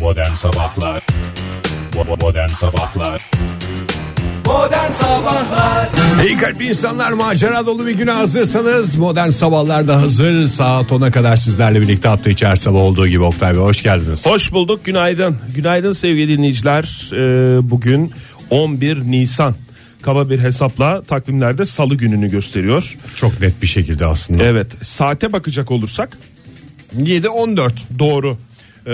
Modern Sabahlar Bo- Modern Sabahlar Modern Sabahlar İyi kalp insanlar macera dolu bir güne hazırsanız modern sabahlarda hazır saat 10'a kadar sizlerle birlikte hafta içi her sabah olduğu gibi Oktay Bey hoş geldiniz. Hoş bulduk günaydın. Günaydın sevgili dinleyiciler. Ee, bugün 11 Nisan. Kaba bir hesapla takvimlerde salı gününü gösteriyor. Çok net bir şekilde aslında. Evet saate bakacak olursak 7 14. doğru. Ee,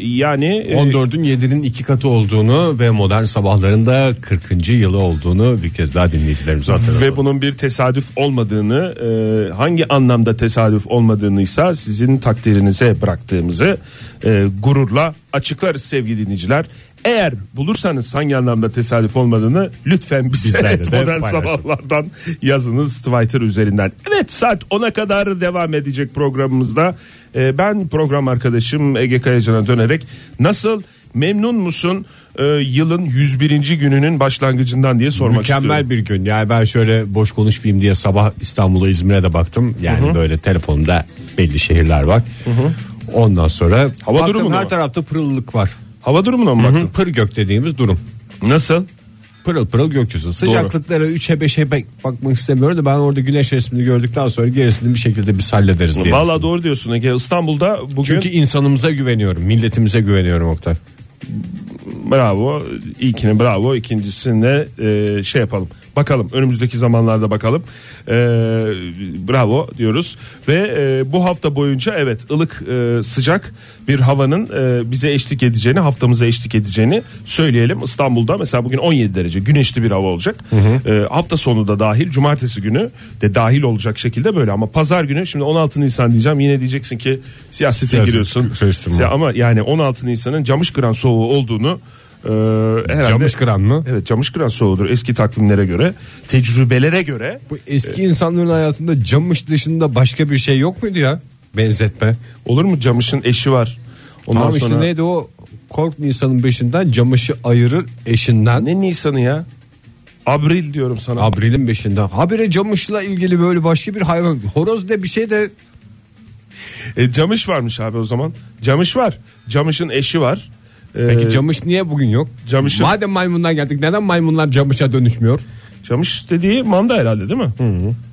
yani e, 14'ün 7'nin iki katı olduğunu ve modern sabahların da 40. yılı olduğunu bir kez daha dinleyicilerimize hatırlatalım. ve bunun bir tesadüf olmadığını e, hangi anlamda tesadüf olmadığınıysa sizin takdirinize bıraktığımızı e, gururla açıklarız sevgili dinleyiciler. Eğer bulursanız hangi anlamda tesadüf olmadığını lütfen bize Bizlerle et de modern paylaşın. sabahlardan yazınız Twitter üzerinden. Evet saat 10'a kadar devam edecek programımızda. E, ben program arkadaşım Ege Kayacan'a dönerek nasıl memnun musun e, yılın 101. gününün başlangıcından diye sormak istiyorum. Mükemmel bir gün. Yani ben şöyle boş konuşmayayım diye sabah İstanbul'a İzmir'e de baktım. Yani böyle telefonda belli şehirler var. Ondan sonra Hava baktım durumu da her var. tarafta pırıllılık var. Hava durumuna mı baktın? Pır gök dediğimiz durum. Nasıl? Pırıl pırıl gökyüzü. Sıcaklıklara 3'e 5'e bak- bakmak istemiyorum da ben orada güneş resmini gördükten sonra gerisini bir şekilde biz hallederiz diye. Valla düşünüyorum. doğru diyorsun Ege. İstanbul'da bugün Çünkü insanımıza güveniyorum, milletimize güveniyorum Oktay. bravo. İlkini bravo. ikincisine e, şey yapalım. Bakalım önümüzdeki zamanlarda bakalım. E, bravo diyoruz. Ve e, bu hafta boyunca evet ılık e, sıcak bir havanın e, bize eşlik edeceğini haftamıza eşlik edeceğini söyleyelim. İstanbul'da mesela bugün 17 derece güneşli bir hava olacak. E, hafta sonu da dahil cumartesi günü de dahil olacak şekilde böyle ama pazar günü şimdi 16 Nisan diyeceğim yine diyeceksin ki siyasete Siyaset giriyorsun. karıştırma. Siya- ama yani 16 Nisan'ın camış kıran soğuğu olduğunu e, herhalde Camış kıran mı? Evet camış kıran soğuğudur eski takvimlere göre, tecrübelere göre. Bu eski insanların hayatında camış dışında başka bir şey yok muydu ya? Benzetme. Olur mu camışın eşi var. Ondan Tamam sonra işte neydi o? Kork Nisan'ın beşinden camışı ayırır eşinden. ne Nisan'ı ya? Abril diyorum sana. Abril'in beşinden. Habire camışla ilgili böyle başka bir hayvan. Horoz de bir şey de E, camış varmış abi o zaman. Camış var. Camışın eşi var. E, Peki camış niye bugün yok? Camışı- Madem maymundan geldik neden maymunlar camışa dönüşmüyor? Camış dediği manda herhalde değil mi?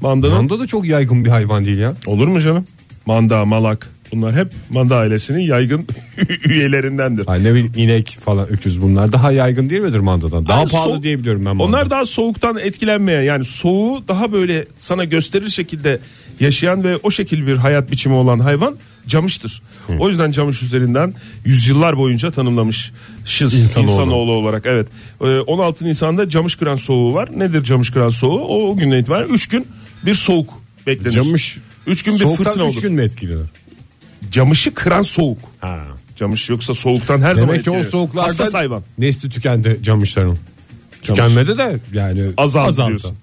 Mandanın Manda da çok yaygın bir hayvan değil ya. olur mu canım? Manda, malak bunlar hep manda ailesinin yaygın üyelerindendir. Ay ne bileyim inek falan öküz bunlar daha yaygın değil midir mandadan? Daha Abi pahalı soğuk- diyebiliyorum ben manda. Onlar daha soğuktan etkilenmeyen yani soğuğu daha böyle sana gösterir şekilde yaşayan ve o şekil bir hayat biçimi olan hayvan camıştır. O yüzden camış üzerinden yüzyıllar boyunca tanımlamış şız İnsanoğlu. insanoğlu, olarak evet. Ee, 16 Nisan'da camış kıran soğuğu var. Nedir camış kıran soğuğu? O, o günden itibaren 3 gün bir soğuk beklenir. Camış- 3 gün bir fırtına Soğuktan 3 olur. gün mü etkilenir? Camışı kıran soğuk. Ha. Camış yoksa soğuktan her zaman Demek ki o etkileniyor. Hassas hayvan. soğuklarda nesli tükendi camışların. Tükenmedi de yani azaldı, azaldı. diyorsun.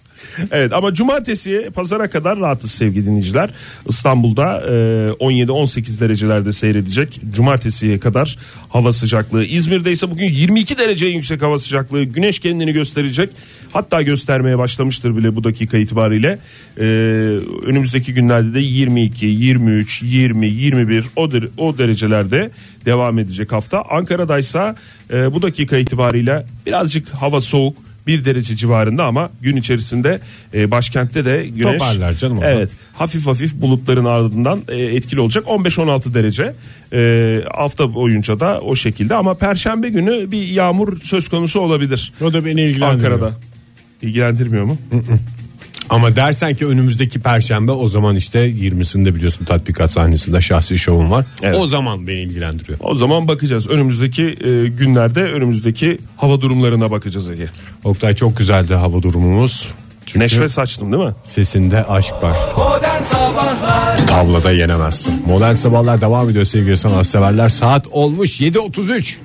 Evet ama cumartesi pazara kadar rahatız sevgili dinleyiciler. İstanbul'da e, 17-18 derecelerde seyredecek. Cumartesiye kadar hava sıcaklığı. İzmir'de ise bugün 22 derece yüksek hava sıcaklığı. Güneş kendini gösterecek. Hatta göstermeye başlamıştır bile bu dakika itibariyle. E, önümüzdeki günlerde de 22, 23, 20, 21 o, der- o derecelerde devam edecek hafta. Ankara'daysa e, bu dakika itibariyle birazcık hava soğuk. 1 derece civarında ama gün içerisinde e, başkentte de güneş Toparlar canım ama. Evet. Hafif hafif bulutların ardından e, etkili olacak. 15-16 derece. E, hafta boyunca da o şekilde ama perşembe günü bir yağmur söz konusu olabilir. O da beni ilgilendirmiyor. Ankara'da. İlgilendirmiyor mu? Ama dersen ki önümüzdeki perşembe o zaman işte 20'sinde biliyorsun tatbikat sahnesinde şahsi şovum var. Evet. O zaman beni ilgilendiriyor. O zaman bakacağız. Önümüzdeki e, günlerde önümüzdeki hava durumlarına bakacağız Ege. Oktay çok güzeldi hava durumumuz. Çünkü Neşve saçtım değil mi? sesinde aşk var. Modern Sabahlar Tavlada yenemezsin. Modern sabahlar devam ediyor sevgili sanatseverler. Saat olmuş 7.33.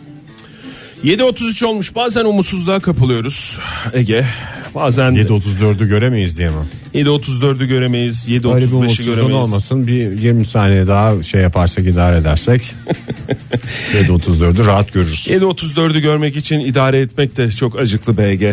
7.33 olmuş. Bazen umutsuzluğa kapılıyoruz Ege. Bazen 7.34'ü göremeyiz diye mi? 7.34'ü göremeyiz. Böyle bir 7.35'i umutsuzluğun göremeyiz. olmasın. Bir 20 saniye daha şey yaparsak idare edersek 7.34'ü rahat görürüz. 7.34'ü görmek için idare etmek de çok acıklı BG.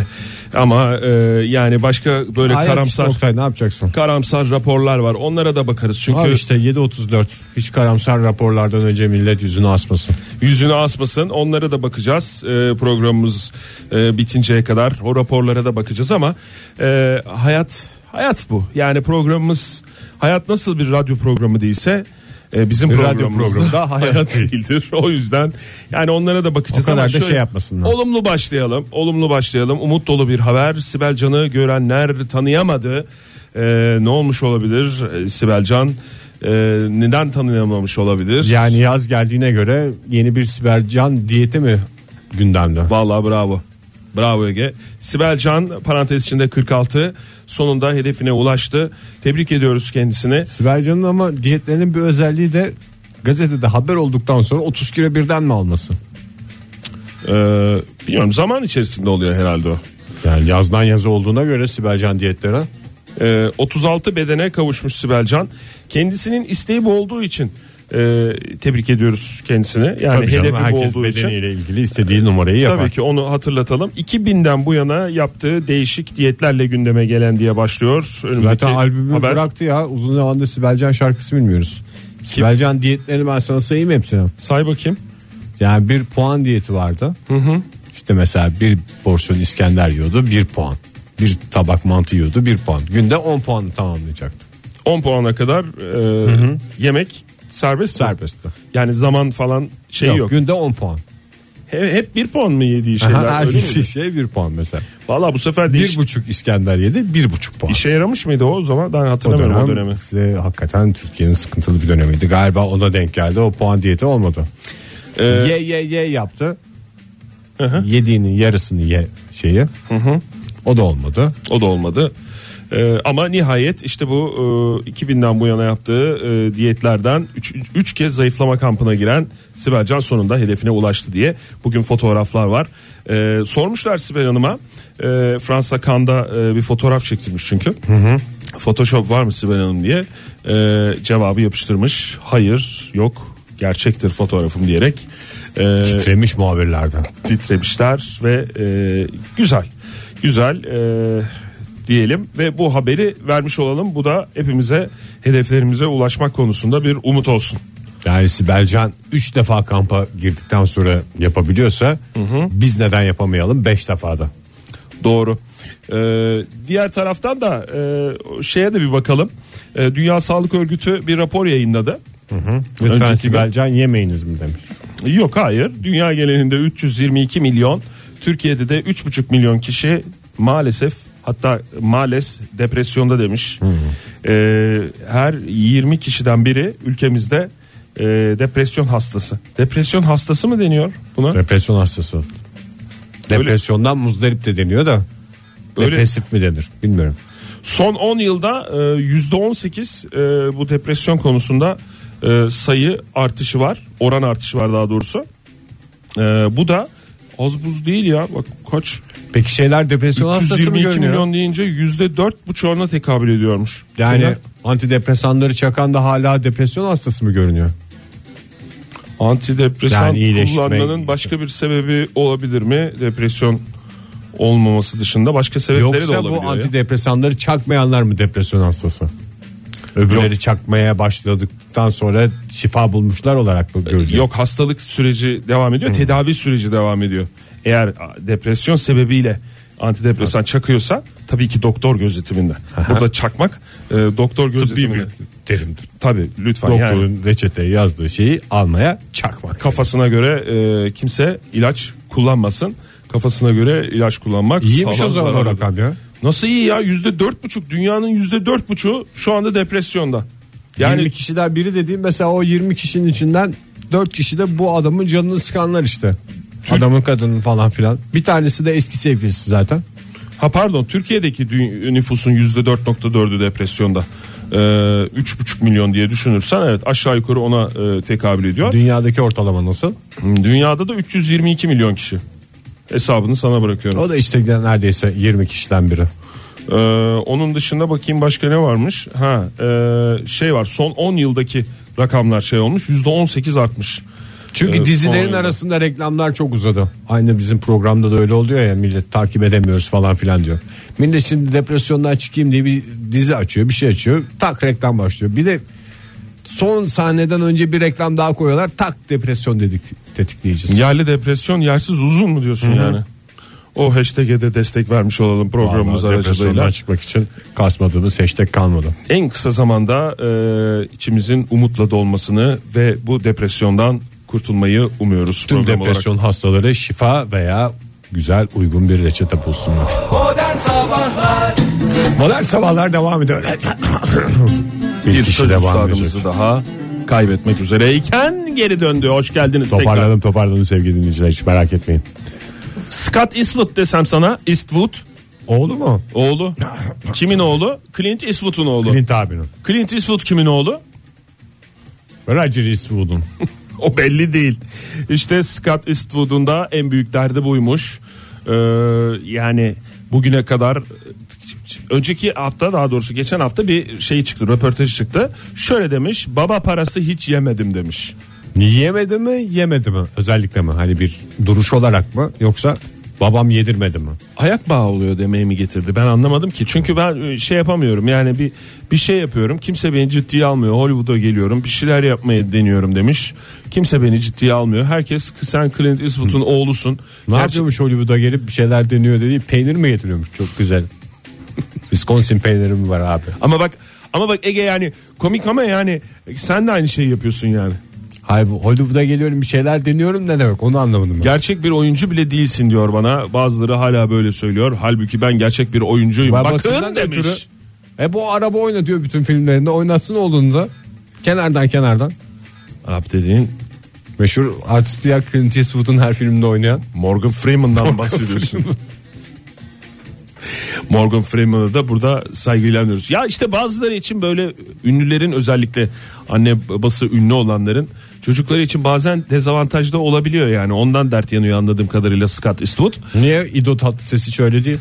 Ama e, yani başka böyle Hayat karamsar işte Oktay, ne yapacaksın? karamsar raporlar var. Onlara da bakarız. Çünkü Abi işte 7.34 hiç karamsar raporlardan önce millet yüzünü asmasın. yüzünü asmasın. Onlara da bakacağız e, programımız e, bitinceye kadar. O raporlara da bakacağız ama e, hayat hayat bu. Yani programımız hayat nasıl bir radyo programı değilse e, bizim Bir radyo programımız programı da da hayat hayat değildir. O yüzden yani onlara da bakacağız. O kadar ama da şey yapmasınlar. Olumlu başlayalım. Olumlu başlayalım. Umut dolu bir haber. Sibel Can'ı görenler tanıyamadı. E, ne olmuş olabilir e, Sibel Can? E, neden tanıyamamış olabilir? Yani yaz geldiğine göre yeni bir Sibercan diyeti mi gündemde? Vallahi bravo. Bravo Ege. Sibel Can parantez içinde 46 sonunda hedefine ulaştı. Tebrik ediyoruz kendisini. Sibercan'ın ama diyetlerinin bir özelliği de gazetede haber olduktan sonra 30 kilo birden mi alması? Ee, bilmiyorum zaman içerisinde oluyor herhalde o. Yani yazdan yaza olduğuna göre Sibercan diyetleri Ee, 36 bedene kavuşmuş Sibel Can. Kendisinin isteği bu olduğu için e, tebrik ediyoruz kendisini. Yani Tabii canım, hedefi bu herkes olduğu için. bedeniyle ilgili istediği numarayı yapar. Tabii ki onu hatırlatalım. 2000'den bu yana yaptığı değişik diyetlerle gündeme gelen diye başlıyor. Önümdeki Zaten albümü haber. bıraktı ya uzun zamandır Sibelcan şarkısı bilmiyoruz. Sibelcan diyetlerini ben sana sayayım hepsini. Say bakayım. Yani bir puan diyeti vardı. İşte mesela bir porsiyon İskender yiyordu bir puan. Bir tabak mantı yiyordu bir puan. Günde 10 puanı tamamlayacaktı. 10 puana kadar e, yemek serbest. mi? Serbestti. Yani zaman falan şey Yok, yok. günde 10 puan. He- Hep bir puan mı yediği şeyler? Aha, her öyle bir miydi? şey bir puan mesela. Vallahi bu sefer de Bir buçuk İskender yedi bir buçuk puan. işe yaramış mıydı o, o zaman? Ben hatırlamıyorum o dönemi. e, hakikaten Türkiye'nin sıkıntılı bir dönemiydi. Galiba ona denk geldi. O puan diyeti olmadı. Ee, ye ye ye yaptı. Yediğinin yarısını ye şeyi. O da olmadı. o da olmadı. Ee, ama nihayet işte bu e, 2000'den bu yana yaptığı e, diyetlerden 3 kez zayıflama kampına giren Sibel Can sonunda hedefine ulaştı diye bugün fotoğraflar var. Ee, sormuşlar Sibel Hanım'a e, Fransa Kanda e, bir fotoğraf çektirmiş çünkü. Photoshop var mı Sibel Hanım diye Ee, cevabı yapıştırmış. Hayır yok gerçektir fotoğrafım diyerek. Ee, Titremiş muhabirlerden. titremişler ve e, güzel güzel e, diyelim ve bu haberi vermiş olalım. Bu da hepimize hedeflerimize ulaşmak konusunda bir umut olsun. Yani Sibelcan 3 defa kampa girdikten sonra yapabiliyorsa biz neden yapamayalım 5 defada. Doğru. Ee, diğer taraftan da e, şeye de bir bakalım. Ee, Dünya Sağlık Örgütü bir rapor yayınladı. Lütfen Önceki Sibelcan yemeyiniz mi demiş. Yok hayır. Dünya genelinde 322 milyon, Türkiye'de de 3,5 milyon kişi maalesef hatta maalesef depresyonda demiş. Ee, her 20 kişiden biri ülkemizde e, depresyon hastası. Depresyon hastası mı deniyor buna? Depresyon hastası. Depresyondan muzdarip de deniyor da. Öyle. Depresif mi denir bilmiyorum. Son 10 yılda e, %18 e, bu depresyon konusunda e, sayı artışı var. Oran artışı var daha doğrusu. E, Bu da az buz değil ya. Bak kaç Peki şeyler depresyon hastası mı 322 görünüyor? milyon deyince yüzde dört buçuğuna tekabül ediyormuş. Yani Bunlar antidepresanları çakan da hala depresyon hastası mı görünüyor? antidepresan Yani iyileşme- kullanmanın başka bir sebebi olabilir mi? Depresyon olmaması dışında başka sebepleri de Yoksa olabiliyor. bu ya. antidepresanları çakmayanlar mı depresyon hastası? Öbürleri çakmaya başladıktan sonra şifa bulmuşlar olarak mı görülüyor? Yok hastalık süreci devam ediyor, tedavi süreci devam ediyor. Eğer depresyon sebebiyle antidepresan çakıyorsa tabii ki doktor gözetiminde. Burada çakmak e, doktor gözetiminde. terimdir. Tabii lütfen yani. Doktorun reçeteye yazdığı şeyi almaya çakmak. kafasına göre e, kimse ilaç kullanmasın. Kafasına göre ilaç kullanmak. İyiymiş sağlığa o zaman zarar o verir. rakam ya. Nasıl iyi ya yüzde dört buçuk dünyanın yüzde dört buçuğu şu anda depresyonda. Yani 20 kişiden biri dediğim mesela o 20 kişinin içinden 4 kişi de bu adamın canını sıkanlar işte. Adamın kadının falan filan. Bir tanesi de eski sevgilisi zaten. ha pardon Türkiye'deki dü- nüfusun yüzde dört nokta dördü depresyonda. E, Üç buçuk milyon diye düşünürsen evet aşağı yukarı ona e, tekabül ediyor. Dünyadaki ortalama nasıl? Dünyada da 322 milyon kişi. Hesabını sana bırakıyorum. O da işte neredeyse 20 kişiden biri. Ee, onun dışında bakayım başka ne varmış? Ha, e, şey var. Son 10 yıldaki rakamlar şey olmuş. %18 artmış. Çünkü e, dizilerin Polonya'da. arasında reklamlar çok uzadı. Aynı bizim programda da öyle oluyor ya millet takip edemiyoruz falan filan diyor. Millet şimdi depresyondan çıkayım diye bir dizi açıyor bir şey açıyor tak reklam başlıyor. Bir de son sahneden önce bir reklam daha koyuyorlar tak depresyon dedik tetikleyeceğiz. Yerli depresyon yersiz uzun mu diyorsun yani? O hashtag'e de destek vermiş olalım programımız Vallahi aracılığıyla. depresyondan çıkmak için kasmadığımız hashtag kalmadı. En kısa zamanda e, içimizin umutla dolmasını ve bu depresyondan kurtulmayı umuyoruz. Tüm program depresyon hastaları şifa veya güzel uygun bir reçete bulsunlar. Modern Sabahlar Modern sabahlar devam ediyor. bir, Bir kişi söz devam edecek. üstadımızı daha kaybetmek üzereyken geri döndü. Hoş geldiniz tekrar. Toparladım toparladım sevgili dinleyiciler hiç merak etmeyin. Scott Eastwood desem sana. Eastwood Oğlu mu? oğlu. Kimin oğlu? Clint Eastwood'un oğlu. Clint. Clint abinin. Eastwood kimin oğlu? Roger Eastwood'un. O belli değil. İşte Scott Eastwood'un da en büyük derdi buymuş. Ee, yani bugüne kadar önceki hafta daha doğrusu geçen hafta bir şey çıktı röportaj çıktı. Şöyle demiş baba parası hiç yemedim demiş. Yemedi mi yemedi mi? Özellikle mi? Hani bir duruş olarak mı? Yoksa babam yedirmedi mi? ayak bağı oluyor demeye mi getirdi ben anlamadım ki çünkü ben e, şey yapamıyorum yani bir bir şey yapıyorum kimse beni ciddiye almıyor Hollywood'a geliyorum bir şeyler yapmaya deniyorum demiş kimse beni ciddiye almıyor herkes sen Clint Eastwood'un oğlusun Ne Gerçi- yapıyormuş Hollywood'a gelip bir şeyler deniyor dedi. Peynir mi getiriyormuş? Çok güzel. Wisconsin peyniri mi var abi? ama bak ama bak Ege yani komik ama yani sen de aynı şeyi yapıyorsun yani Hayır bu Hollywood'a geliyorum bir şeyler deniyorum ne demek onu anlamadım ben. gerçek bir oyuncu bile değilsin diyor bana bazıları hala böyle söylüyor halbuki ben gerçek bir oyuncuyum bakın Babasından demiş ötürü, E bu araba oynatıyor bütün filmlerinde oynatsın oğlunu da. Kenardan kenardan. Arap dediğin Meşhur artisti ya Clint Eastwood'un her filminde oynayan. Morgan Freeman'dan bahsediyorsun. Morgan Freeman'ı da burada saygıyla anıyoruz. Ya işte bazıları için böyle ünlülerin özellikle anne babası ünlü olanların çocukları için bazen dezavantajda olabiliyor yani. Ondan dert yanıyor anladığım kadarıyla Scott Eastwood. Niye İdo Tatlıses'i şöyle değil?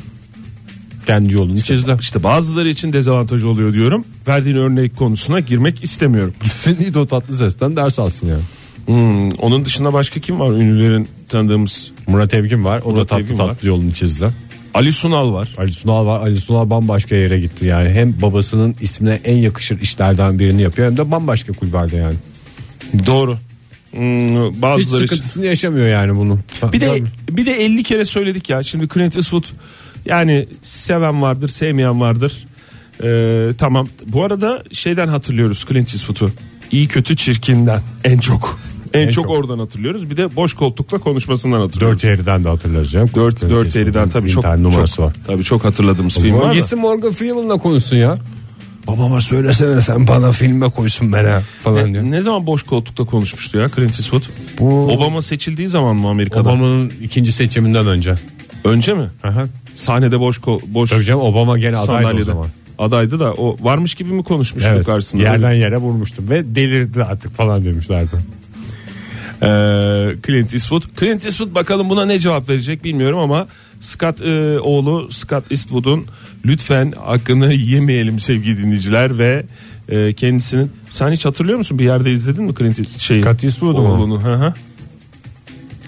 Kendi yolunu çizdi. İşte bazıları için dezavantaj oluyor diyorum. Verdiğin örnek konusuna girmek istemiyorum. Gitsin İdo Tatlıses'ten ders alsın yani. Hmm, onun dışında başka kim var ünlülerin tanıdığımız? Murat Evgin var. O Murat da tatlı Evgin var. tatlı yolunu çizdi. Ali Sunal var. Ali Sunal var. Ali Sunal bambaşka yere gitti yani. Hem babasının ismine en yakışır işlerden birini yapıyor hem de bambaşka kulvarda yani. Doğru. Hmm, Hiç bazıları için- sıkıntısını yaşamıyor yani bunun. Bir de Yani bir de 50 kere söyledik ya. Şimdi Clint Eastwood yani seven vardır, sevmeyen vardır. Ee, tamam. Bu arada şeyden hatırlıyoruz Clint Eastwood'u. İyi kötü çirkinden en çok. En, En çok, çok. oradan hatırlıyoruz. Bir de boş koltukla konuşmasından hatırlıyoruz. Dört Eğri'den de hatırlayacağım. Dört, dört, Eğri'den tabii Bin çok, tane numarası çok, var. Tabii çok hatırladığımız film var. da. Gitsin Morgan Freeman'la konuşsun ya. Babama söylesene sen bana filme koysun bana falan diyor. Ne, ne zaman boş koltukta konuşmuştu ya Clint Eastwood? Bu- Obama seçildiği zaman mı Amerika'da? Obama'nın ikinci seçiminden önce. Önce mi? Aha. Sahnede boş ko- boş Tabii canım Obama gene adaydı o sandalyede. zaman. Adaydı da o varmış gibi mi konuşmuştuk Evet, karşısında? yerden yere vurmuştum ve delirdi artık falan demişlerdi. Ee, Clint Eastwood. Clint Eastwood bakalım buna ne cevap verecek bilmiyorum ama Scott e, oğlu Scott Eastwood'un lütfen hakkını yemeyelim sevgili dinleyiciler ve e, kendisinin sen hiç hatırlıyor musun bir yerde izledin mi Clint Eastwood şeyi? Scott Eastwood'u mu? oğlunu. Hı hı.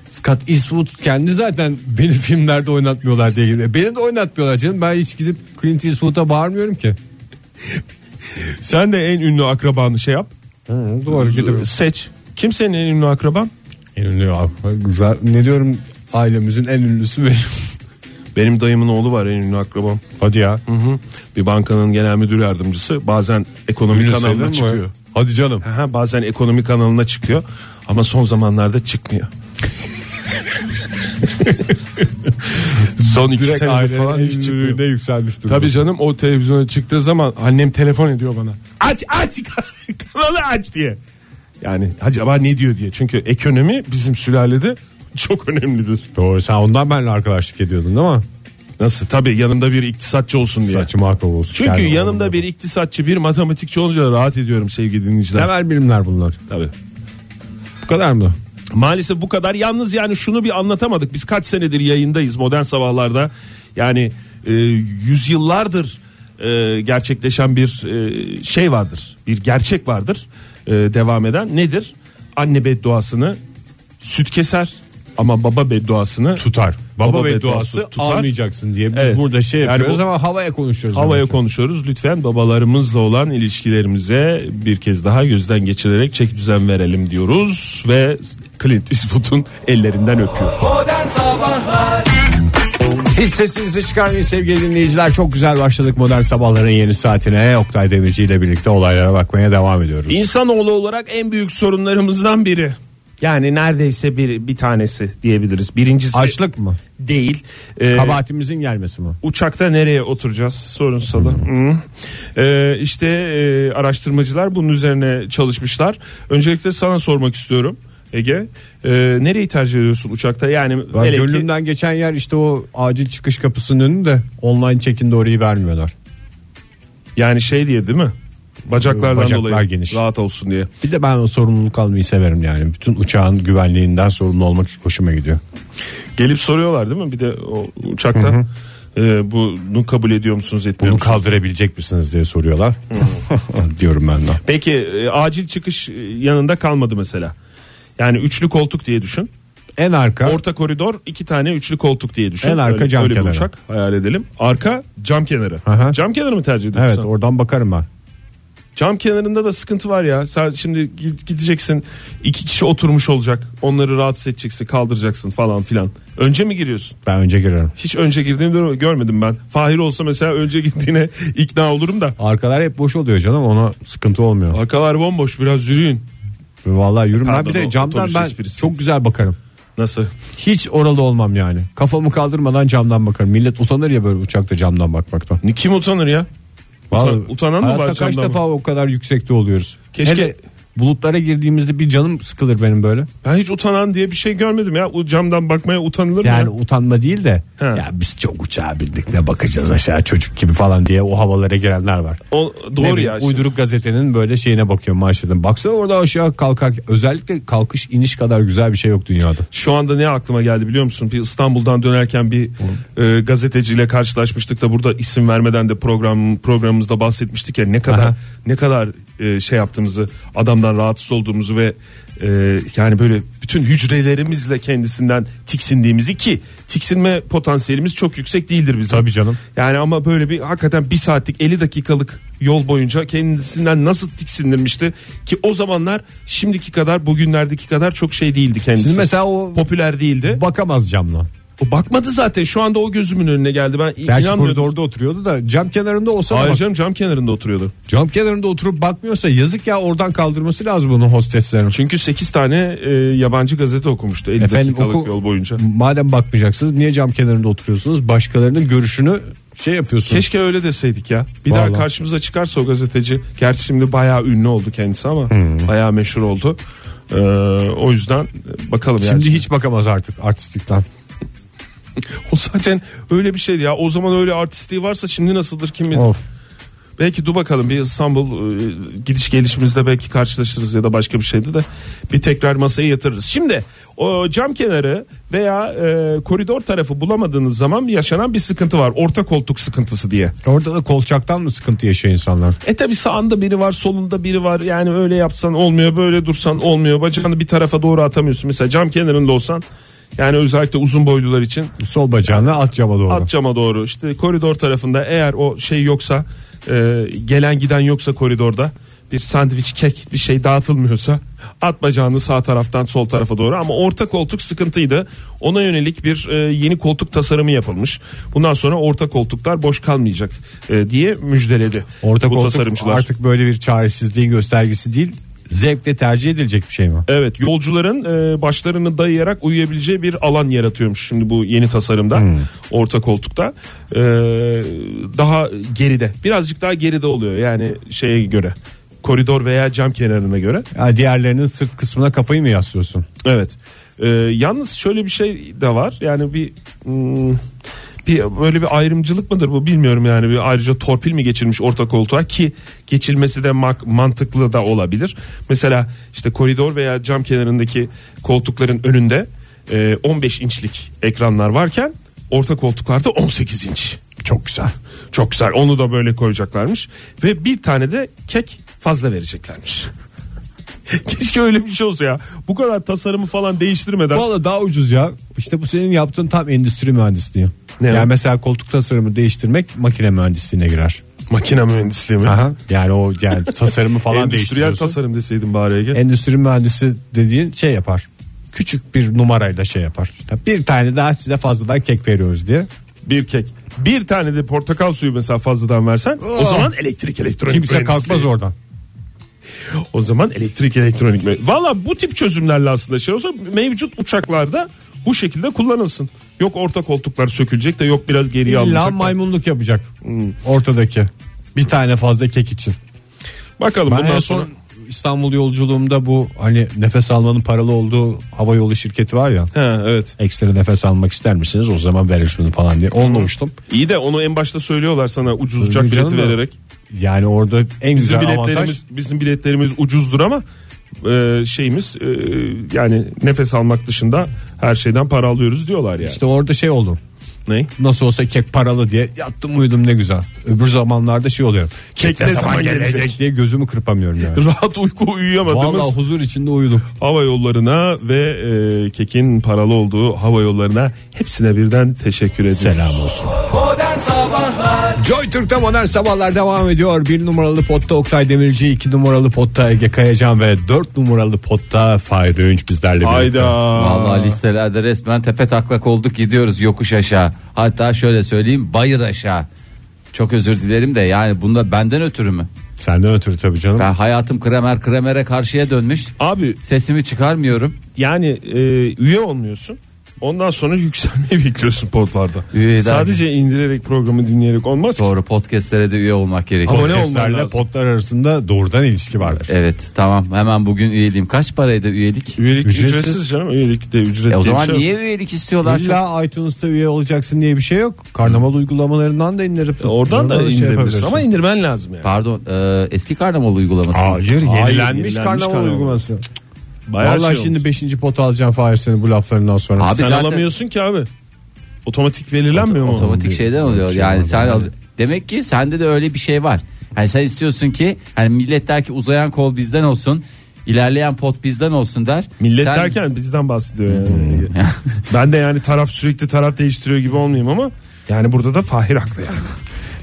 Scott Eastwood kendi zaten beni filmlerde oynatmıyorlar diye geliyor. Beni de oynatmıyorlar canım. Ben hiç gidip Clint Eastwood'a bağırmıyorum ki. Sen de en ünlü akrabanı şey yap. doğru gidip. Seç. Kim senin en ünlü akraban? En ünlü güzel. Ne diyorum ailemizin en ünlüsü benim. Benim dayımın oğlu var en ünlü akrabam. Hadi ya. Hı hı. Bir bankanın genel müdür yardımcısı bazen ekonomi Ünlü sayılır kanalına mı? çıkıyor. Hadi canım. Aha, bazen ekonomi kanalına çıkıyor ama son zamanlarda çıkmıyor. son iki Direkt sene ailenin falan en hiç çıkmıyor. ünlülüğüne yükselmiş durumda. Tabii canım o televizyona çıktığı zaman annem telefon ediyor bana. Aç aç kanalı aç diye. Yani acaba ne diyor diye. Çünkü ekonomi bizim sülalede çok önemlidir. Doğru sen ondan benimle arkadaşlık ediyordun değil mi? Nasıl? Tabii yanımda bir iktisatçı olsun diye. Saçma akıl olsun. Çünkü Kendine yanımda olmadı. bir iktisatçı, bir matematikçi olunca da rahat ediyorum sevgili dinleyiciler. Temel bilimler bunlar. Tabii. Bu kadar mı? Maalesef bu kadar. Yalnız yani şunu bir anlatamadık. Biz kaç senedir yayındayız modern sabahlarda. Yani e, yüzyıllardır e, gerçekleşen bir e, şey vardır. Bir gerçek vardır e, devam eden. Nedir? Anne bedduasını Süt keser ama baba bedduasını tutar. Baba, Baba ve bedduası duası tutar. almayacaksın diye biz Evet. burada şey Yani yapıyoruz bu- ama havaya konuşuyoruz. Havaya demek ki. konuşuyoruz. Lütfen babalarımızla olan ilişkilerimize bir kez daha gözden geçirerek çek düzen verelim diyoruz ve Clint Eastwood'un ellerinden öpüyoruz. Modern Sabahlar Hiç sesinizi çıkarmayın sevgili dinleyiciler. Çok güzel başladık modern sabahların yeni saatine. Oktay Demirci ile birlikte olaylara bakmaya devam ediyoruz. İnsanoğlu olarak en büyük sorunlarımızdan biri. Yani neredeyse bir bir tanesi diyebiliriz. Birincisi Açlık mı? değil. Ee, Kabahatimizin gelmesi mi? uçakta nereye oturacağız sorunsalı. Hı. Ee, işte e, araştırmacılar bunun üzerine çalışmışlar. Öncelikle sana sormak istiyorum Ege. Ee, nereyi tercih ediyorsun uçakta? Yani Ben hele ki- gönlümden geçen yer işte o acil çıkış kapısının önünde online check-in de orayı vermiyorlar. yani şey diye değil mi? Bacaklardan Bacaklar dolayı geniş. rahat olsun diye. Bir de ben o sorumluluk almayı severim yani. Bütün uçağın güvenliğinden sorumlu olmak hoşuma gidiyor. Gelip soruyorlar değil mi? Bir de o uçakta e, bunu kabul ediyor musunuz etmiyor Bunu musunuz? kaldırabilecek misiniz diye soruyorlar. Diyorum ben de. Peki e, acil çıkış e, yanında kalmadı mesela. Yani üçlü koltuk diye düşün. En arka Orta koridor iki tane üçlü koltuk diye düşün. En arka Öyle- cam öyle bir kenarı. uçak hayal edelim. Arka cam kenarı. Aha. Cam kenarı mı tercih ediyorsun? Evet sen? oradan bakarım ben. Cam kenarında da sıkıntı var ya. Sen şimdi gi- gideceksin iki kişi oturmuş olacak. Onları rahatsız edeceksin kaldıracaksın falan filan. Önce mi giriyorsun? Ben önce girerim. Hiç önce girdiğini gör- görmedim ben. Fahir olsa mesela önce gittiğine ikna olurum da. Arkalar hep boş oluyor canım ona sıkıntı olmuyor. Arkalar bomboş biraz yürüyün. Vallahi yürüm ben Pardon, bir de o- camdan otobüs ben esprisi. çok güzel bakarım. Nasıl? Hiç oralı olmam yani. Kafamı kaldırmadan camdan bakarım. Millet utanır ya böyle uçakta camdan bakmaktan. Ni- Kim utanır ya? Vallahi utanan mı hayatta var kaç camdan defa o kadar yüksekte oluyoruz. Keşke- Hele bulutlara girdiğimizde bir canım sıkılır benim böyle. Ben hiç utanan diye bir şey görmedim ya. O camdan bakmaya utanılır mı? Yani ya? utanma değil de He. ya biz çok uçağa bindik ne bakacağız aşağı çocuk gibi falan diye o havalara girenler var. O, Ne doğru bileyim, ya. Uyduruk gazetenin böyle şeyine bakıyorum manşetin. Baksana orada aşağı kalkar. Özellikle kalkış iniş kadar güzel bir şey yok dünyada. Şu anda ne aklıma geldi biliyor musun? Bir İstanbul'dan dönerken bir e, gazeteciyle karşılaşmıştık da burada isim vermeden de program programımızda bahsetmiştik ya ne kadar Aha. ne kadar e, şey yaptığımızı, adamdan rahatsız olduğumuzu ve e, yani böyle bütün hücrelerimizle kendisinden tiksindiğimizi ki tiksinme potansiyelimiz çok yüksek değildir bizim. Tabii canım. Yani ama böyle bir hakikaten bir saatlik 50 dakikalık yol boyunca kendisinden nasıl tiksindirmişti ki o zamanlar şimdiki kadar bugünlerdeki kadar çok şey değildi kendisi. Şimdi mesela o- popüler değildi. Bakamaz camla. o bakmadı zaten şu anda o gözümün önüne geldi. Ben Gerçi inanmıyorum. koridorda oturuyordu da cam kenarında olsa da Hayır bak- canım cam kenarında oturuyordu. cam kenarında oturup bakmıyorsa yazık ya oradan kaldırması lazım bunu hosteslerin. Çünkü 8 tane e, yabancı gazete okumuştu 50 Efendim, dakikalık oku- yol boyunca. Madem bakmayacaksınız niye cam kenarında oturuyorsunuz? Başkalarının görüşünü şey yapıyorsunuz. Keşke öyle deseydik ya. Bir Vallahi. daha karşımıza çıkarsa o gazeteci. Gerçi şimdi bayağı ünlü oldu kendisi ama Hmm. bayağı meşhur oldu. Ee, o yüzden e, bakalım yani. Şimdi hiç bakamaz artık artistlikten. O zaten öyle bir şeydi ya. O zaman öyle artistliği varsa şimdi nasıldır kim bilir. Of. Belki dur bakalım bir İstanbul e, gidiş gelişimizde belki karşılaşırız ya da başka bir şeyde de bir tekrar masaya yatırırız. Şimdi o cam kenarı veya e, koridor tarafı bulamadığınız zaman yaşanan bir sıkıntı var. Orta koltuk sıkıntısı diye. Orada da kolçaktan mı sıkıntı yaşıyor insanlar? E tabi sağında biri var solunda biri var yani öyle yapsan olmuyor böyle dursan olmuyor bacağını bir tarafa doğru atamıyorsun mesela cam kenarında olsan yani özellikle uzun boylular için Sol bacağını at cama doğru. at cama doğru işte koridor tarafında eğer o şey yoksa e, gelen giden yoksa koridorda bir sandviç kek bir şey dağıtılmıyorsa at bacağını sağ taraftan sol tarafa doğru ama orta koltuk sıkıntıydı ona yönelik bir e, yeni koltuk tasarımı yapılmış bundan sonra orta koltuklar boş kalmayacak e, diye müjdeledi Orta bu koltuk tasarımcılar. artık böyle bir çaresizliğin göstergesi değil zevkle tercih edilecek bir şey mi? Evet yolcuların e, başlarını dayayarak uyuyabileceği bir alan yaratıyormuş şimdi bu yeni tasarımda orta koltukta E, daha geride birazcık daha geride oluyor yani şeye göre koridor veya cam kenarına göre Ya diğerlerinin sırt kısmına kafayı mı yaslıyorsun? evet E, yalnız şöyle bir şey de var yani bir hmm, bir böyle bir ayrımcılık mıdır bu bilmiyorum yani bir ayrıca torpil mi geçirmiş orta koltuğa ki geçilmesi de mak- mantıklı da olabilir. Mesela işte koridor veya cam kenarındaki koltukların önünde e, 15 inçlik ekranlar varken orta koltuklarda 18 inç. Çok güzel. Çok güzel. Onu da böyle koyacaklarmış ve bir tane de kek fazla vereceklermiş. Keşke öyle bir şey olsa ya. Bu kadar tasarımı falan değiştirmeden. Valla daha ucuz ya. İşte bu senin yaptığın tam endüstri mühendisliği. Ne yani o? mesela koltuk tasarımı değiştirmek makine mühendisliğine girer. Makine mühendisliği mi? Aha. Yani o yani tasarımı falan Endüstriyel değiştiriyorsun. tasarım deseydin bari Ege. endüstri mühendisi dediğin şey yapar. Küçük bir numarayla şey yapar. İşte bir tane daha size fazladan kek veriyoruz diye. bir kek. Bir tane de portakal suyu mesela fazladan versen o Oh. zaman elektrik elektronik Kimse mühendisliği. kalkmaz oradan. O zaman elektrik elektronik mi? Valla bu tip çözümlerle aslında şey olsa mevcut uçaklarda bu şekilde kullanılsın. Yok orta koltuklar sökülecek de yok biraz geriye İlla alınacak. maymunluk yapacak. Ortadaki. Bir tane fazla kek için. Bakalım Ben bundan en sonra. son İstanbul yolculuğumda bu hani nefes almanın paralı olduğu hava yolu şirketi var ya. Ha, evet. Ekstra nefes almak ister misiniz? O zaman verin şunu falan diye. Olmamıştım. İyi de onu en başta söylüyorlar sana ucuz uçak Öyle canım bileti da. vererek. Yani orada en Bizim güzel avantaj biletlerimiz, bizim biletlerimiz ucuzdur ama e, şeyimiz e, yani nefes almak dışında her şeyden para alıyoruz diyorlar yani. işte orada şey olur. Ne? Nasıl olsa kek paralı diye yattım uyudum ne güzel. Öbür zamanlarda şey oluyor. Kek, ne zaman gelecek? diye gözümü kırpamıyorum yani. Rahat uyku uyuyamadığımız Vallahi huzur içinde uyudum. hava yollarına ve e, kekin paralı olduğu hava yollarına hepsine birden teşekkür ederim. Selam olsun. Modern Sabahlar Joy Türk'te modern sabahlar devam ediyor. Bir numaralı potta Oktay Demirci, iki numaralı potta Ege Kayacan ve dört numaralı potta Fahir Öğünç bizlerle birlikte. Hayda. Vallahi listelerde resmen tepe taklak olduk gidiyoruz yokuş aşağı. Hatta şöyle söyleyeyim bayır aşağı. Çok özür dilerim de yani bunda benden ötürü mü? Senden ötürü tabii canım. Ben hayatım kremer kremere karşıya dönmüş. Abi Sesimi çıkarmıyorum. yani e, üye olmuyorsun. Ondan sonra yükselmeyi bekliyorsun podlarda. Üyeden- Sadece indirerek programı dinleyerek olmaz. ki. Doğru podcastlere de üye olmak gerekiyor. Abone olman Podcastlerle lazım. potlar arasında doğrudan ilişki vardır. Evet tamam hemen bugün üyeliğim. Kaç paraydı üyelik? Üyelik ücretsiz. Ücretsiz. canım. Üyelik de ücretli. E o zaman bir şey yok. niye üyelik istiyorlar? Çok- İlla iTunes'ta üye olacaksın diye bir şey yok. Karnaval uygulamalarından da indirip E, Oradan da şey indirebilirsin yapabilirsin. ama indirmen lazım yani. Pardon e, eski karnaval uygulaması. Hayır, yenilenmiş yenilenmiş karnaval, karnaval. uygulaması. Bayağı Vallahi şey şimdi olmuş. 5. pot alacağım Fahir senin bu laflarından sonra. Abi sen zaten- alamıyorsun ki abi. Otomatik verilenmiyor mu? Otomatik şeyden oluyor. şey yani var sen yani. al- demek ki sende de öyle bir şey var. Hani sen istiyorsun ki hani millet der ki uzayan kol bizden olsun, ilerleyen pot bizden olsun der. Millet Sen- Hmm. derken bizden bahsediyor yani. ben de yani taraf sürekli taraf değiştiriyor gibi olmayayım ama yani burada da Fahir haklı yani.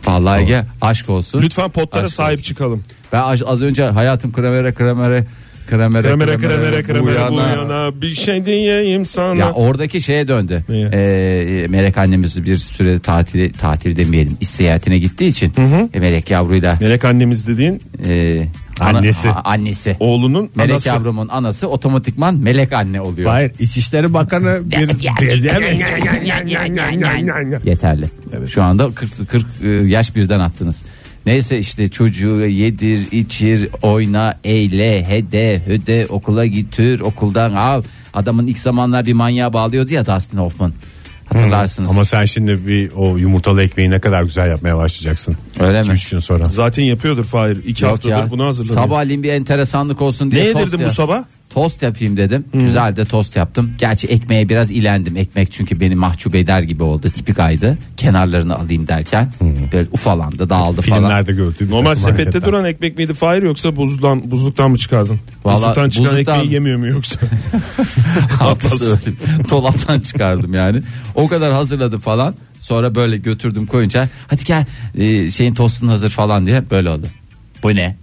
vallahi Ege aşk olsun. Lütfen potlara Aşk sahip olsun. çıkalım. Ben az, az önce hayatım kremere kremere kremere Kremere kremere bu kremere bu yana- yana bir şey diyeyim sana. Ya oradaki şeye döndü. Neye? Ee, Melek annemiz bir süre tatili tatil demeyelim. iş seyahatine gittiği için e, Melek yavruyla Melek annemiz dediğin e, ana- Annesi. a- annesi. oğlunun Melek anası. yavrumun anası otomatikman melek anne oluyor. Hayır İçişleri Bakanı bir Yeterli. Şu anda 40, 40 e, yaş birden attınız. Neyse işte çocuğu e, yedir, içir, oyna, eyle, hede, höde, okula götür, okuldan al. Adamın ilk zamanlar bir manyağa bağlıyordu ya Dustin Hoffman. Hatırlarsınız. Ama sen şimdi bir o yumurtalı ekmeği ne kadar güzel yapmaya başlayacaksın. Öyle mi? 2-3 gün sonra. Zaten yapıyordur Fahir. İki Yok haftadır ya, bunu hazırlanıyor. Sabahleyin bir enteresanlık olsun diye ne tost yedirdin ya- bu sabah? Tost yapayım dedim. Güzel de tost yaptım. Gerçi ekmeğe biraz ilendim. Ekmek çünkü beni mahcup eder gibi oldu. Tipik aydı. Kenarlarını alayım derken böyle ufalandı, dağıldı falan. Filmlerde gördüğüm Normal sepette duran ekmek miydi Fahir yoksa buzdan, buzluktan mı çıkardın? Vallahi buzluktan çıkan buzluktan- ekmeği yemiyor mu yoksa? Haftası öyle. Dolaptan çıkardım yani. O kadar hazırladım falan. Sonra böyle götürdüm koyunca hadi gel e, şeyin tostun hazır falan diye böyle oldu. Bu ne?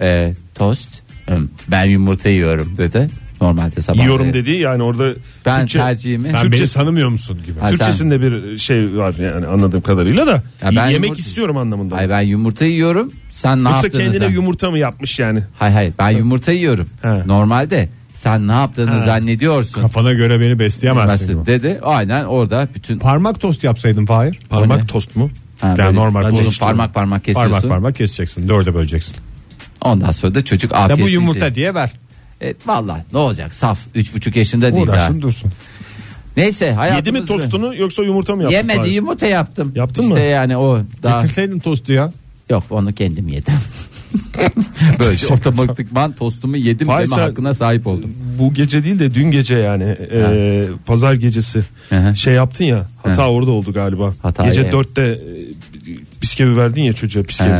E, tost. Hım, Ben yumurta yiyorum dedi. Normalde sabah. Yiyorum dediği yani orada Ben Türkçe- tercihimi. Sen Türkçe- beni tanımıyor musun gibi. Ha, sen- Türkçesinde bir şey var yani anladığım kadarıyla da Ya ben yemek yumurta- istiyorum anlamında. Ay ben yumurta yiyorum. Sen ne Yoksa yaptınız? kendine ha? yumurta mı yapmış yani? Hayır hayır ben yumurta yiyorum. He. Normalde sen ne yaptığını zannediyorsun. Kafana göre beni Nasıl besleyemezsin. gibi. dedi. Aynen orada bütün Parmak tost yapsaydın Fahir. ne? Parmak tost mu? Ha, Yani böyle normal uzun konuştum. parmak parmak kesiyorsun. Parmak parmak keseceksin. Dörde böleceksin. Ondan sonra da çocuk afiyet. Ya bu yumurta yiyecek. diye ver. E, Valla ne olacak saf 3,5 yaşında değil daha. Uğraşın dursun. Neyse hayatımız Yedi mi tostunu yoksa yumurta mı yaptı? Yemedi Fahir? yumurta yaptım. Yaptın işte mı? yani o daha Bitirseydin tostu ya. yok onu kendim yedim. Böyle otomatikman tostumu yedim Fahir deme sen- hakkına sahip oldum. Bu gece değil de dün gece yani e, pazar gecesi Hı hı. şey yaptın ya hata orada oldu galiba. Hata, gece evet. dörtte e, Bisküvi verdin ya çocuğa He, bisküvi.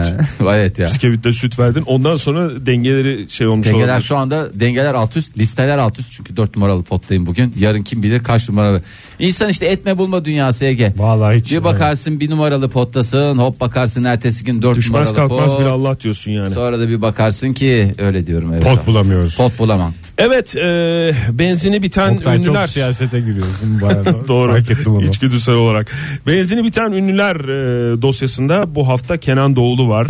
evet ya. Bisküvitle süt verdin. Ondan sonra dengeleri şey olmuş Dengeler olabilir. şu anda dengeler alt üst listeler alt üst çünkü 4 numaralı pottayım bugün yarın kim bilir kaç numaralı İnsan işte etme bulma dünyası Ege Vallahi hiç- bir bakarsın bir numaralı pottasın hop bakarsın ertesi gün 4 Düşmez numaralı kalkmaz pot. bir Allah diyorsun yani. sonra da bir bakarsın ki öyle diyorum evet. Pot bulamıyoruz. pot bulamam Evet e, benzini biten Oktay ünlüler. çok siyasete giriyorsun bayağı. da. Doğru. Fark ettim onu. İçgüdüsel olarak. Benzini biten ünlüler e, dosyasında bu hafta Kenan Doğulu var.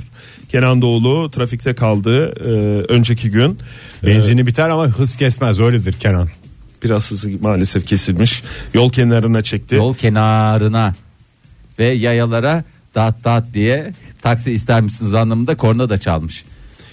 Kenan Doğulu trafikte kaldı e, önceki gün. Benzini biter ama hız kesmez öyledir Kenan. Biraz hızı maalesef kesilmiş. Yol kenarına çekti. yol kenarına ve yayalara dat dat diye taksi ister misiniz anlamında korna da çalmış.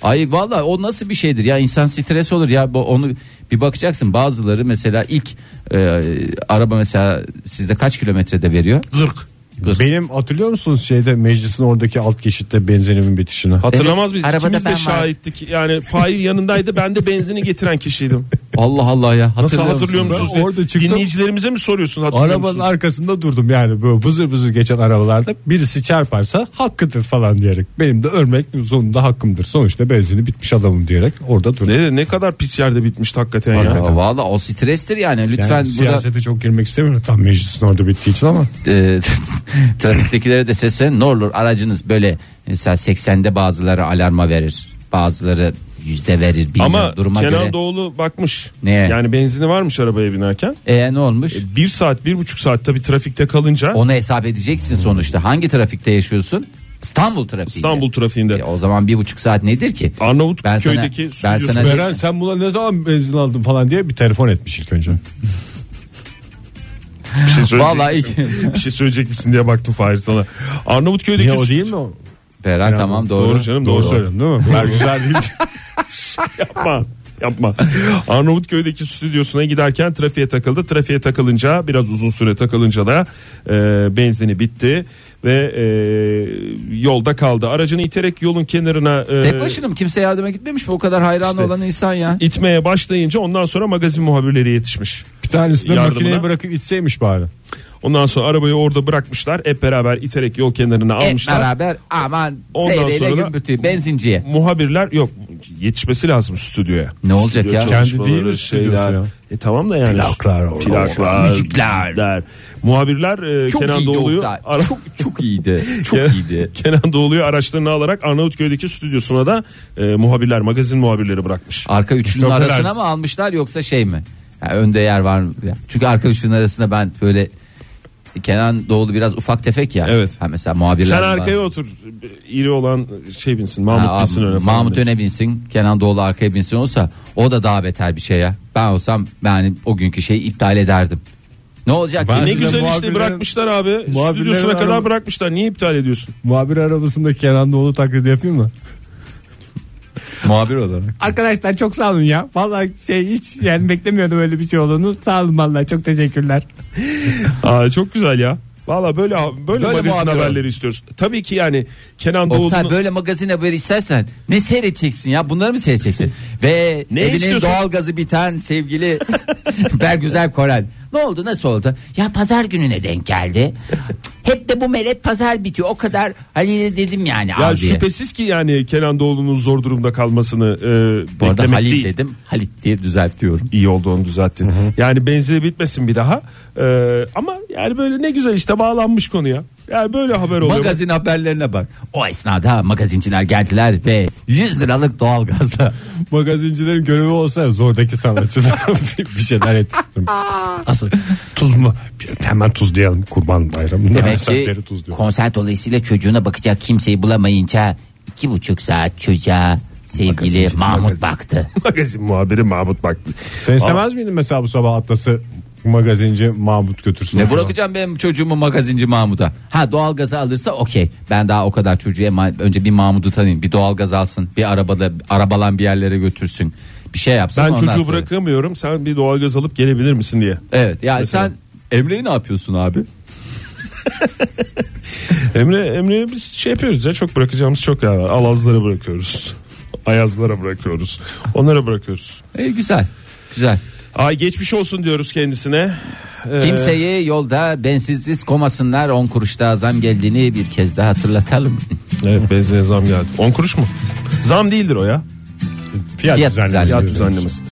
Ay valla o nasıl bir şeydir ya insan stres olur ya bu onu bir bakacaksın bazıları mesela ilk e, araba mesela sizde kaç kilometrede veriyor? Zırk. Gır. Benim hatırlıyor musunuz şeyde meclisin oradaki alt geçitte benzinimin bitişine? Hatırlamaz Evet, biz arabada ikimiz ben de vardım. şahittik. Yani Fahir yanındaydı ben de benzini getiren kişiydim. Allah Allah ya E, Nasıl hatırlıyor, hatırlıyor musunuz? musunuz? Ben orada çıktım. Dinleyicilerimize mi soruyorsun hatırlıyor Arabanın musunuz? arkasında durdum yani böyle vızır vızır geçen arabalarda birisi çarparsa hakkıdır falan diyerek. Benim de ölmek sonunda hakkımdır. Sonuçta benzini bitmiş adamım diyerek orada durdum. Ne, ne kadar pis yerde bitmişti hakikaten ya. Ya Valla o strestir yani Yani lütfen burada siyasete çok girmek istemiyorum tam meclisin orada bittiği için ama. e, trafiktekilere de seslen ne olur aracınız böyle mesela 80'de bazıları alarma verir bazıları yüzde verir bilmiyorum Ama duruma Kenan göre. Doğulu bakmış. Neye? Yani benzini varmış arabaya binerken. E ne olmuş? Bir saat bir buçuk saat tabii trafikte kalınca Onu hesap edeceksin sonuçta. Hangi trafikte yaşıyorsun? İstanbul trafiği. İstanbul trafiğinde. E, o zaman bir buçuk saat nedir ki? Arnavut Ben sana- köydeki ben sana- stüdyosu- Beren sen buna ne zaman benzin aldın falan diye bir telefon etmiş ilk önce. bir şey söyleyecek Vallahi misin? bir şey söyleyecek misin diye baktım Fahir sana. Arnavut köydeki Niye o değil mi o? Beren tamam doğru. Doğru canım doğru, Doğru söyledim değil mi? Ben güzel değil. yapma. Yapma. Arnavutköy'deki stüdyosuna giderken trafiğe takıldı. Trafiğe takılınca biraz uzun süre takılınca da e, benzini bitti ve e, yolda kaldı. Aracını iterek yolun kenarına e, Tek başına mı? Kimse yardıma gitmemiş mi? O kadar hayran İşte. olan insan ya. itmeye başlayınca ondan sonra magazin muhabirleri yetişmiş. Bir tanesini de Yardımına. makineye bırakıp içseymiş bari. Ondan sonra arabayı orada bırakmışlar. Hep beraber iterek yol kenarına Hep almışlar. E, beraber aman Ondan seyreyle sonra- gümbürtüyü benzinciye. Muhabirler yok yetişmesi lazım stüdyoya. Ne olacak Stüdyo ya? Kendi çalışmaları, değil mi stüdyosu şeyler. ya? E tamam da yani. Plaklar, Plaklar, müzikler. müzikler. Muhabirler e, Çok Kenan iyiydi Doğulu'yu Oktay. ara- Çok çok iyiydi. Çok Kenan- iyiydi. Kenan Doğulu'yu araçlarını alarak Arnavutköy'deki stüdyosuna da e, muhabirler, magazin muhabirleri bırakmış. Arka üçünün Çok arasına helal. mı almışlar yoksa şey mi? Yani önde yer var mı? Ya, Çünkü arka üçünün arasında ben böyle Kenan Doğulu biraz ufak tefek ya. Evet. Ha mesela muhabirler. Sen var. arkaya otur. İri olan şey binsin. Mahmut Ha, binsin abi, öne. falan Mahmut diye. öne binsin Kenan Doğulu arkaya binsin olsa o da daha beter bir şey ya. Ben olsam yani o günkü şeyi iptal ederdim. Ne olacak? Ben- ki? Ne Size güzel işte muhabirlerin- bırakmışlar abi. muhabirlerin Stüdyosuna kadar araba- bırakmışlar. Niye iptal ediyorsun? Muhabir arabasında Kenan Doğulu taklidi yapayım mı? Muhabir olarak. Arkadaşlar çok sağ olun ya. Vallahi şey hiç yani beklemiyordum öyle bir şey olduğunu. Sağ olun vallahi çok teşekkürler. Aa, çok güzel ya. Valla böyle böyle, magazin muhabir haberleri istiyoruz. Tabii ki yani Kenan Oktay Doğulu'nun böyle magazin haberi istersen ne seyredeceksin ya bunları mı seyredeceksin? Ve Ne evinin istiyorsun? doğalgazı biten sevgili Bergüzel Korel. Ne oldu nasıl oldu? Ya pazar gününe denk geldi. Hep de bu meret pazar bitiyor o kadar hani dedim yani ya abi. şüphesiz ki yani Kenan Doğulu'nun zor durumda kalmasını e, Bu arada beklemek Halil değil. dedim Halit diye düzeltiyorum. İyi oldu onu düzelttin. Yani benzeri bitmesin bir daha. E, ama yani böyle ne güzel işte bağlanmış konuya. Yani böyle haber oluyor. Magazin haberlerine bak. O esnada magazinciler geldiler ve 100 liralık doğalgazla. Magazincilerin görevi olsa zordaki sanatçılar bir bir şeyler ettirdim. Asıl tuz mu? Bir- Hemen tuzlayalım kurban bayramında. Demek ki Saatleri tuzluyor. konser dolayısıyla çocuğuna bakacak kimseyi bulamayınca iki buçuk saat çocuğa sevgili Mahmut baktı. Magazin muhabiri Mahmut Baktı. Sen istemez miydin mesela bu sabah Atlas'ı magazinci Mahmut götürsün? Ne bırakacağım benim çocuğumu magazinci Mahmut'a. Ha doğalgazı alırsa okey. Ben daha o kadar çocuğu ema- önce bir Mahmut'u tanıyayım. Bir doğalgaz alsın. Bir arabada arabalan bir yerlere götürsün. Bir şey yapsın. Ben ondan çocuğu sonra- bırakamıyorum. Sen bir doğalgaz alıp gelebilir misin diye. Evet ya Mesela. sen Emre'yi ne yapıyorsun abi? Emre Emre'ye biz şey yapıyoruz ya çok bırakacağımız çok yer var. Alazlara bırakıyoruz. Ayazlara bırakıyoruz. Onlara bırakıyoruz. E, güzel. Güzel. Ay geçmiş olsun diyoruz kendisine. Ee, Kimseyi yolda bensizsiz komasınlar 10 kuruş daha zam geldiğini bir kez daha hatırlatalım. Evet benzine zam geldi. 10 kuruş mu? Zam değildir o ya. Fiyat, Fiyat düzenlemesi. düzenlemesi. Fiyat düzenlemesi.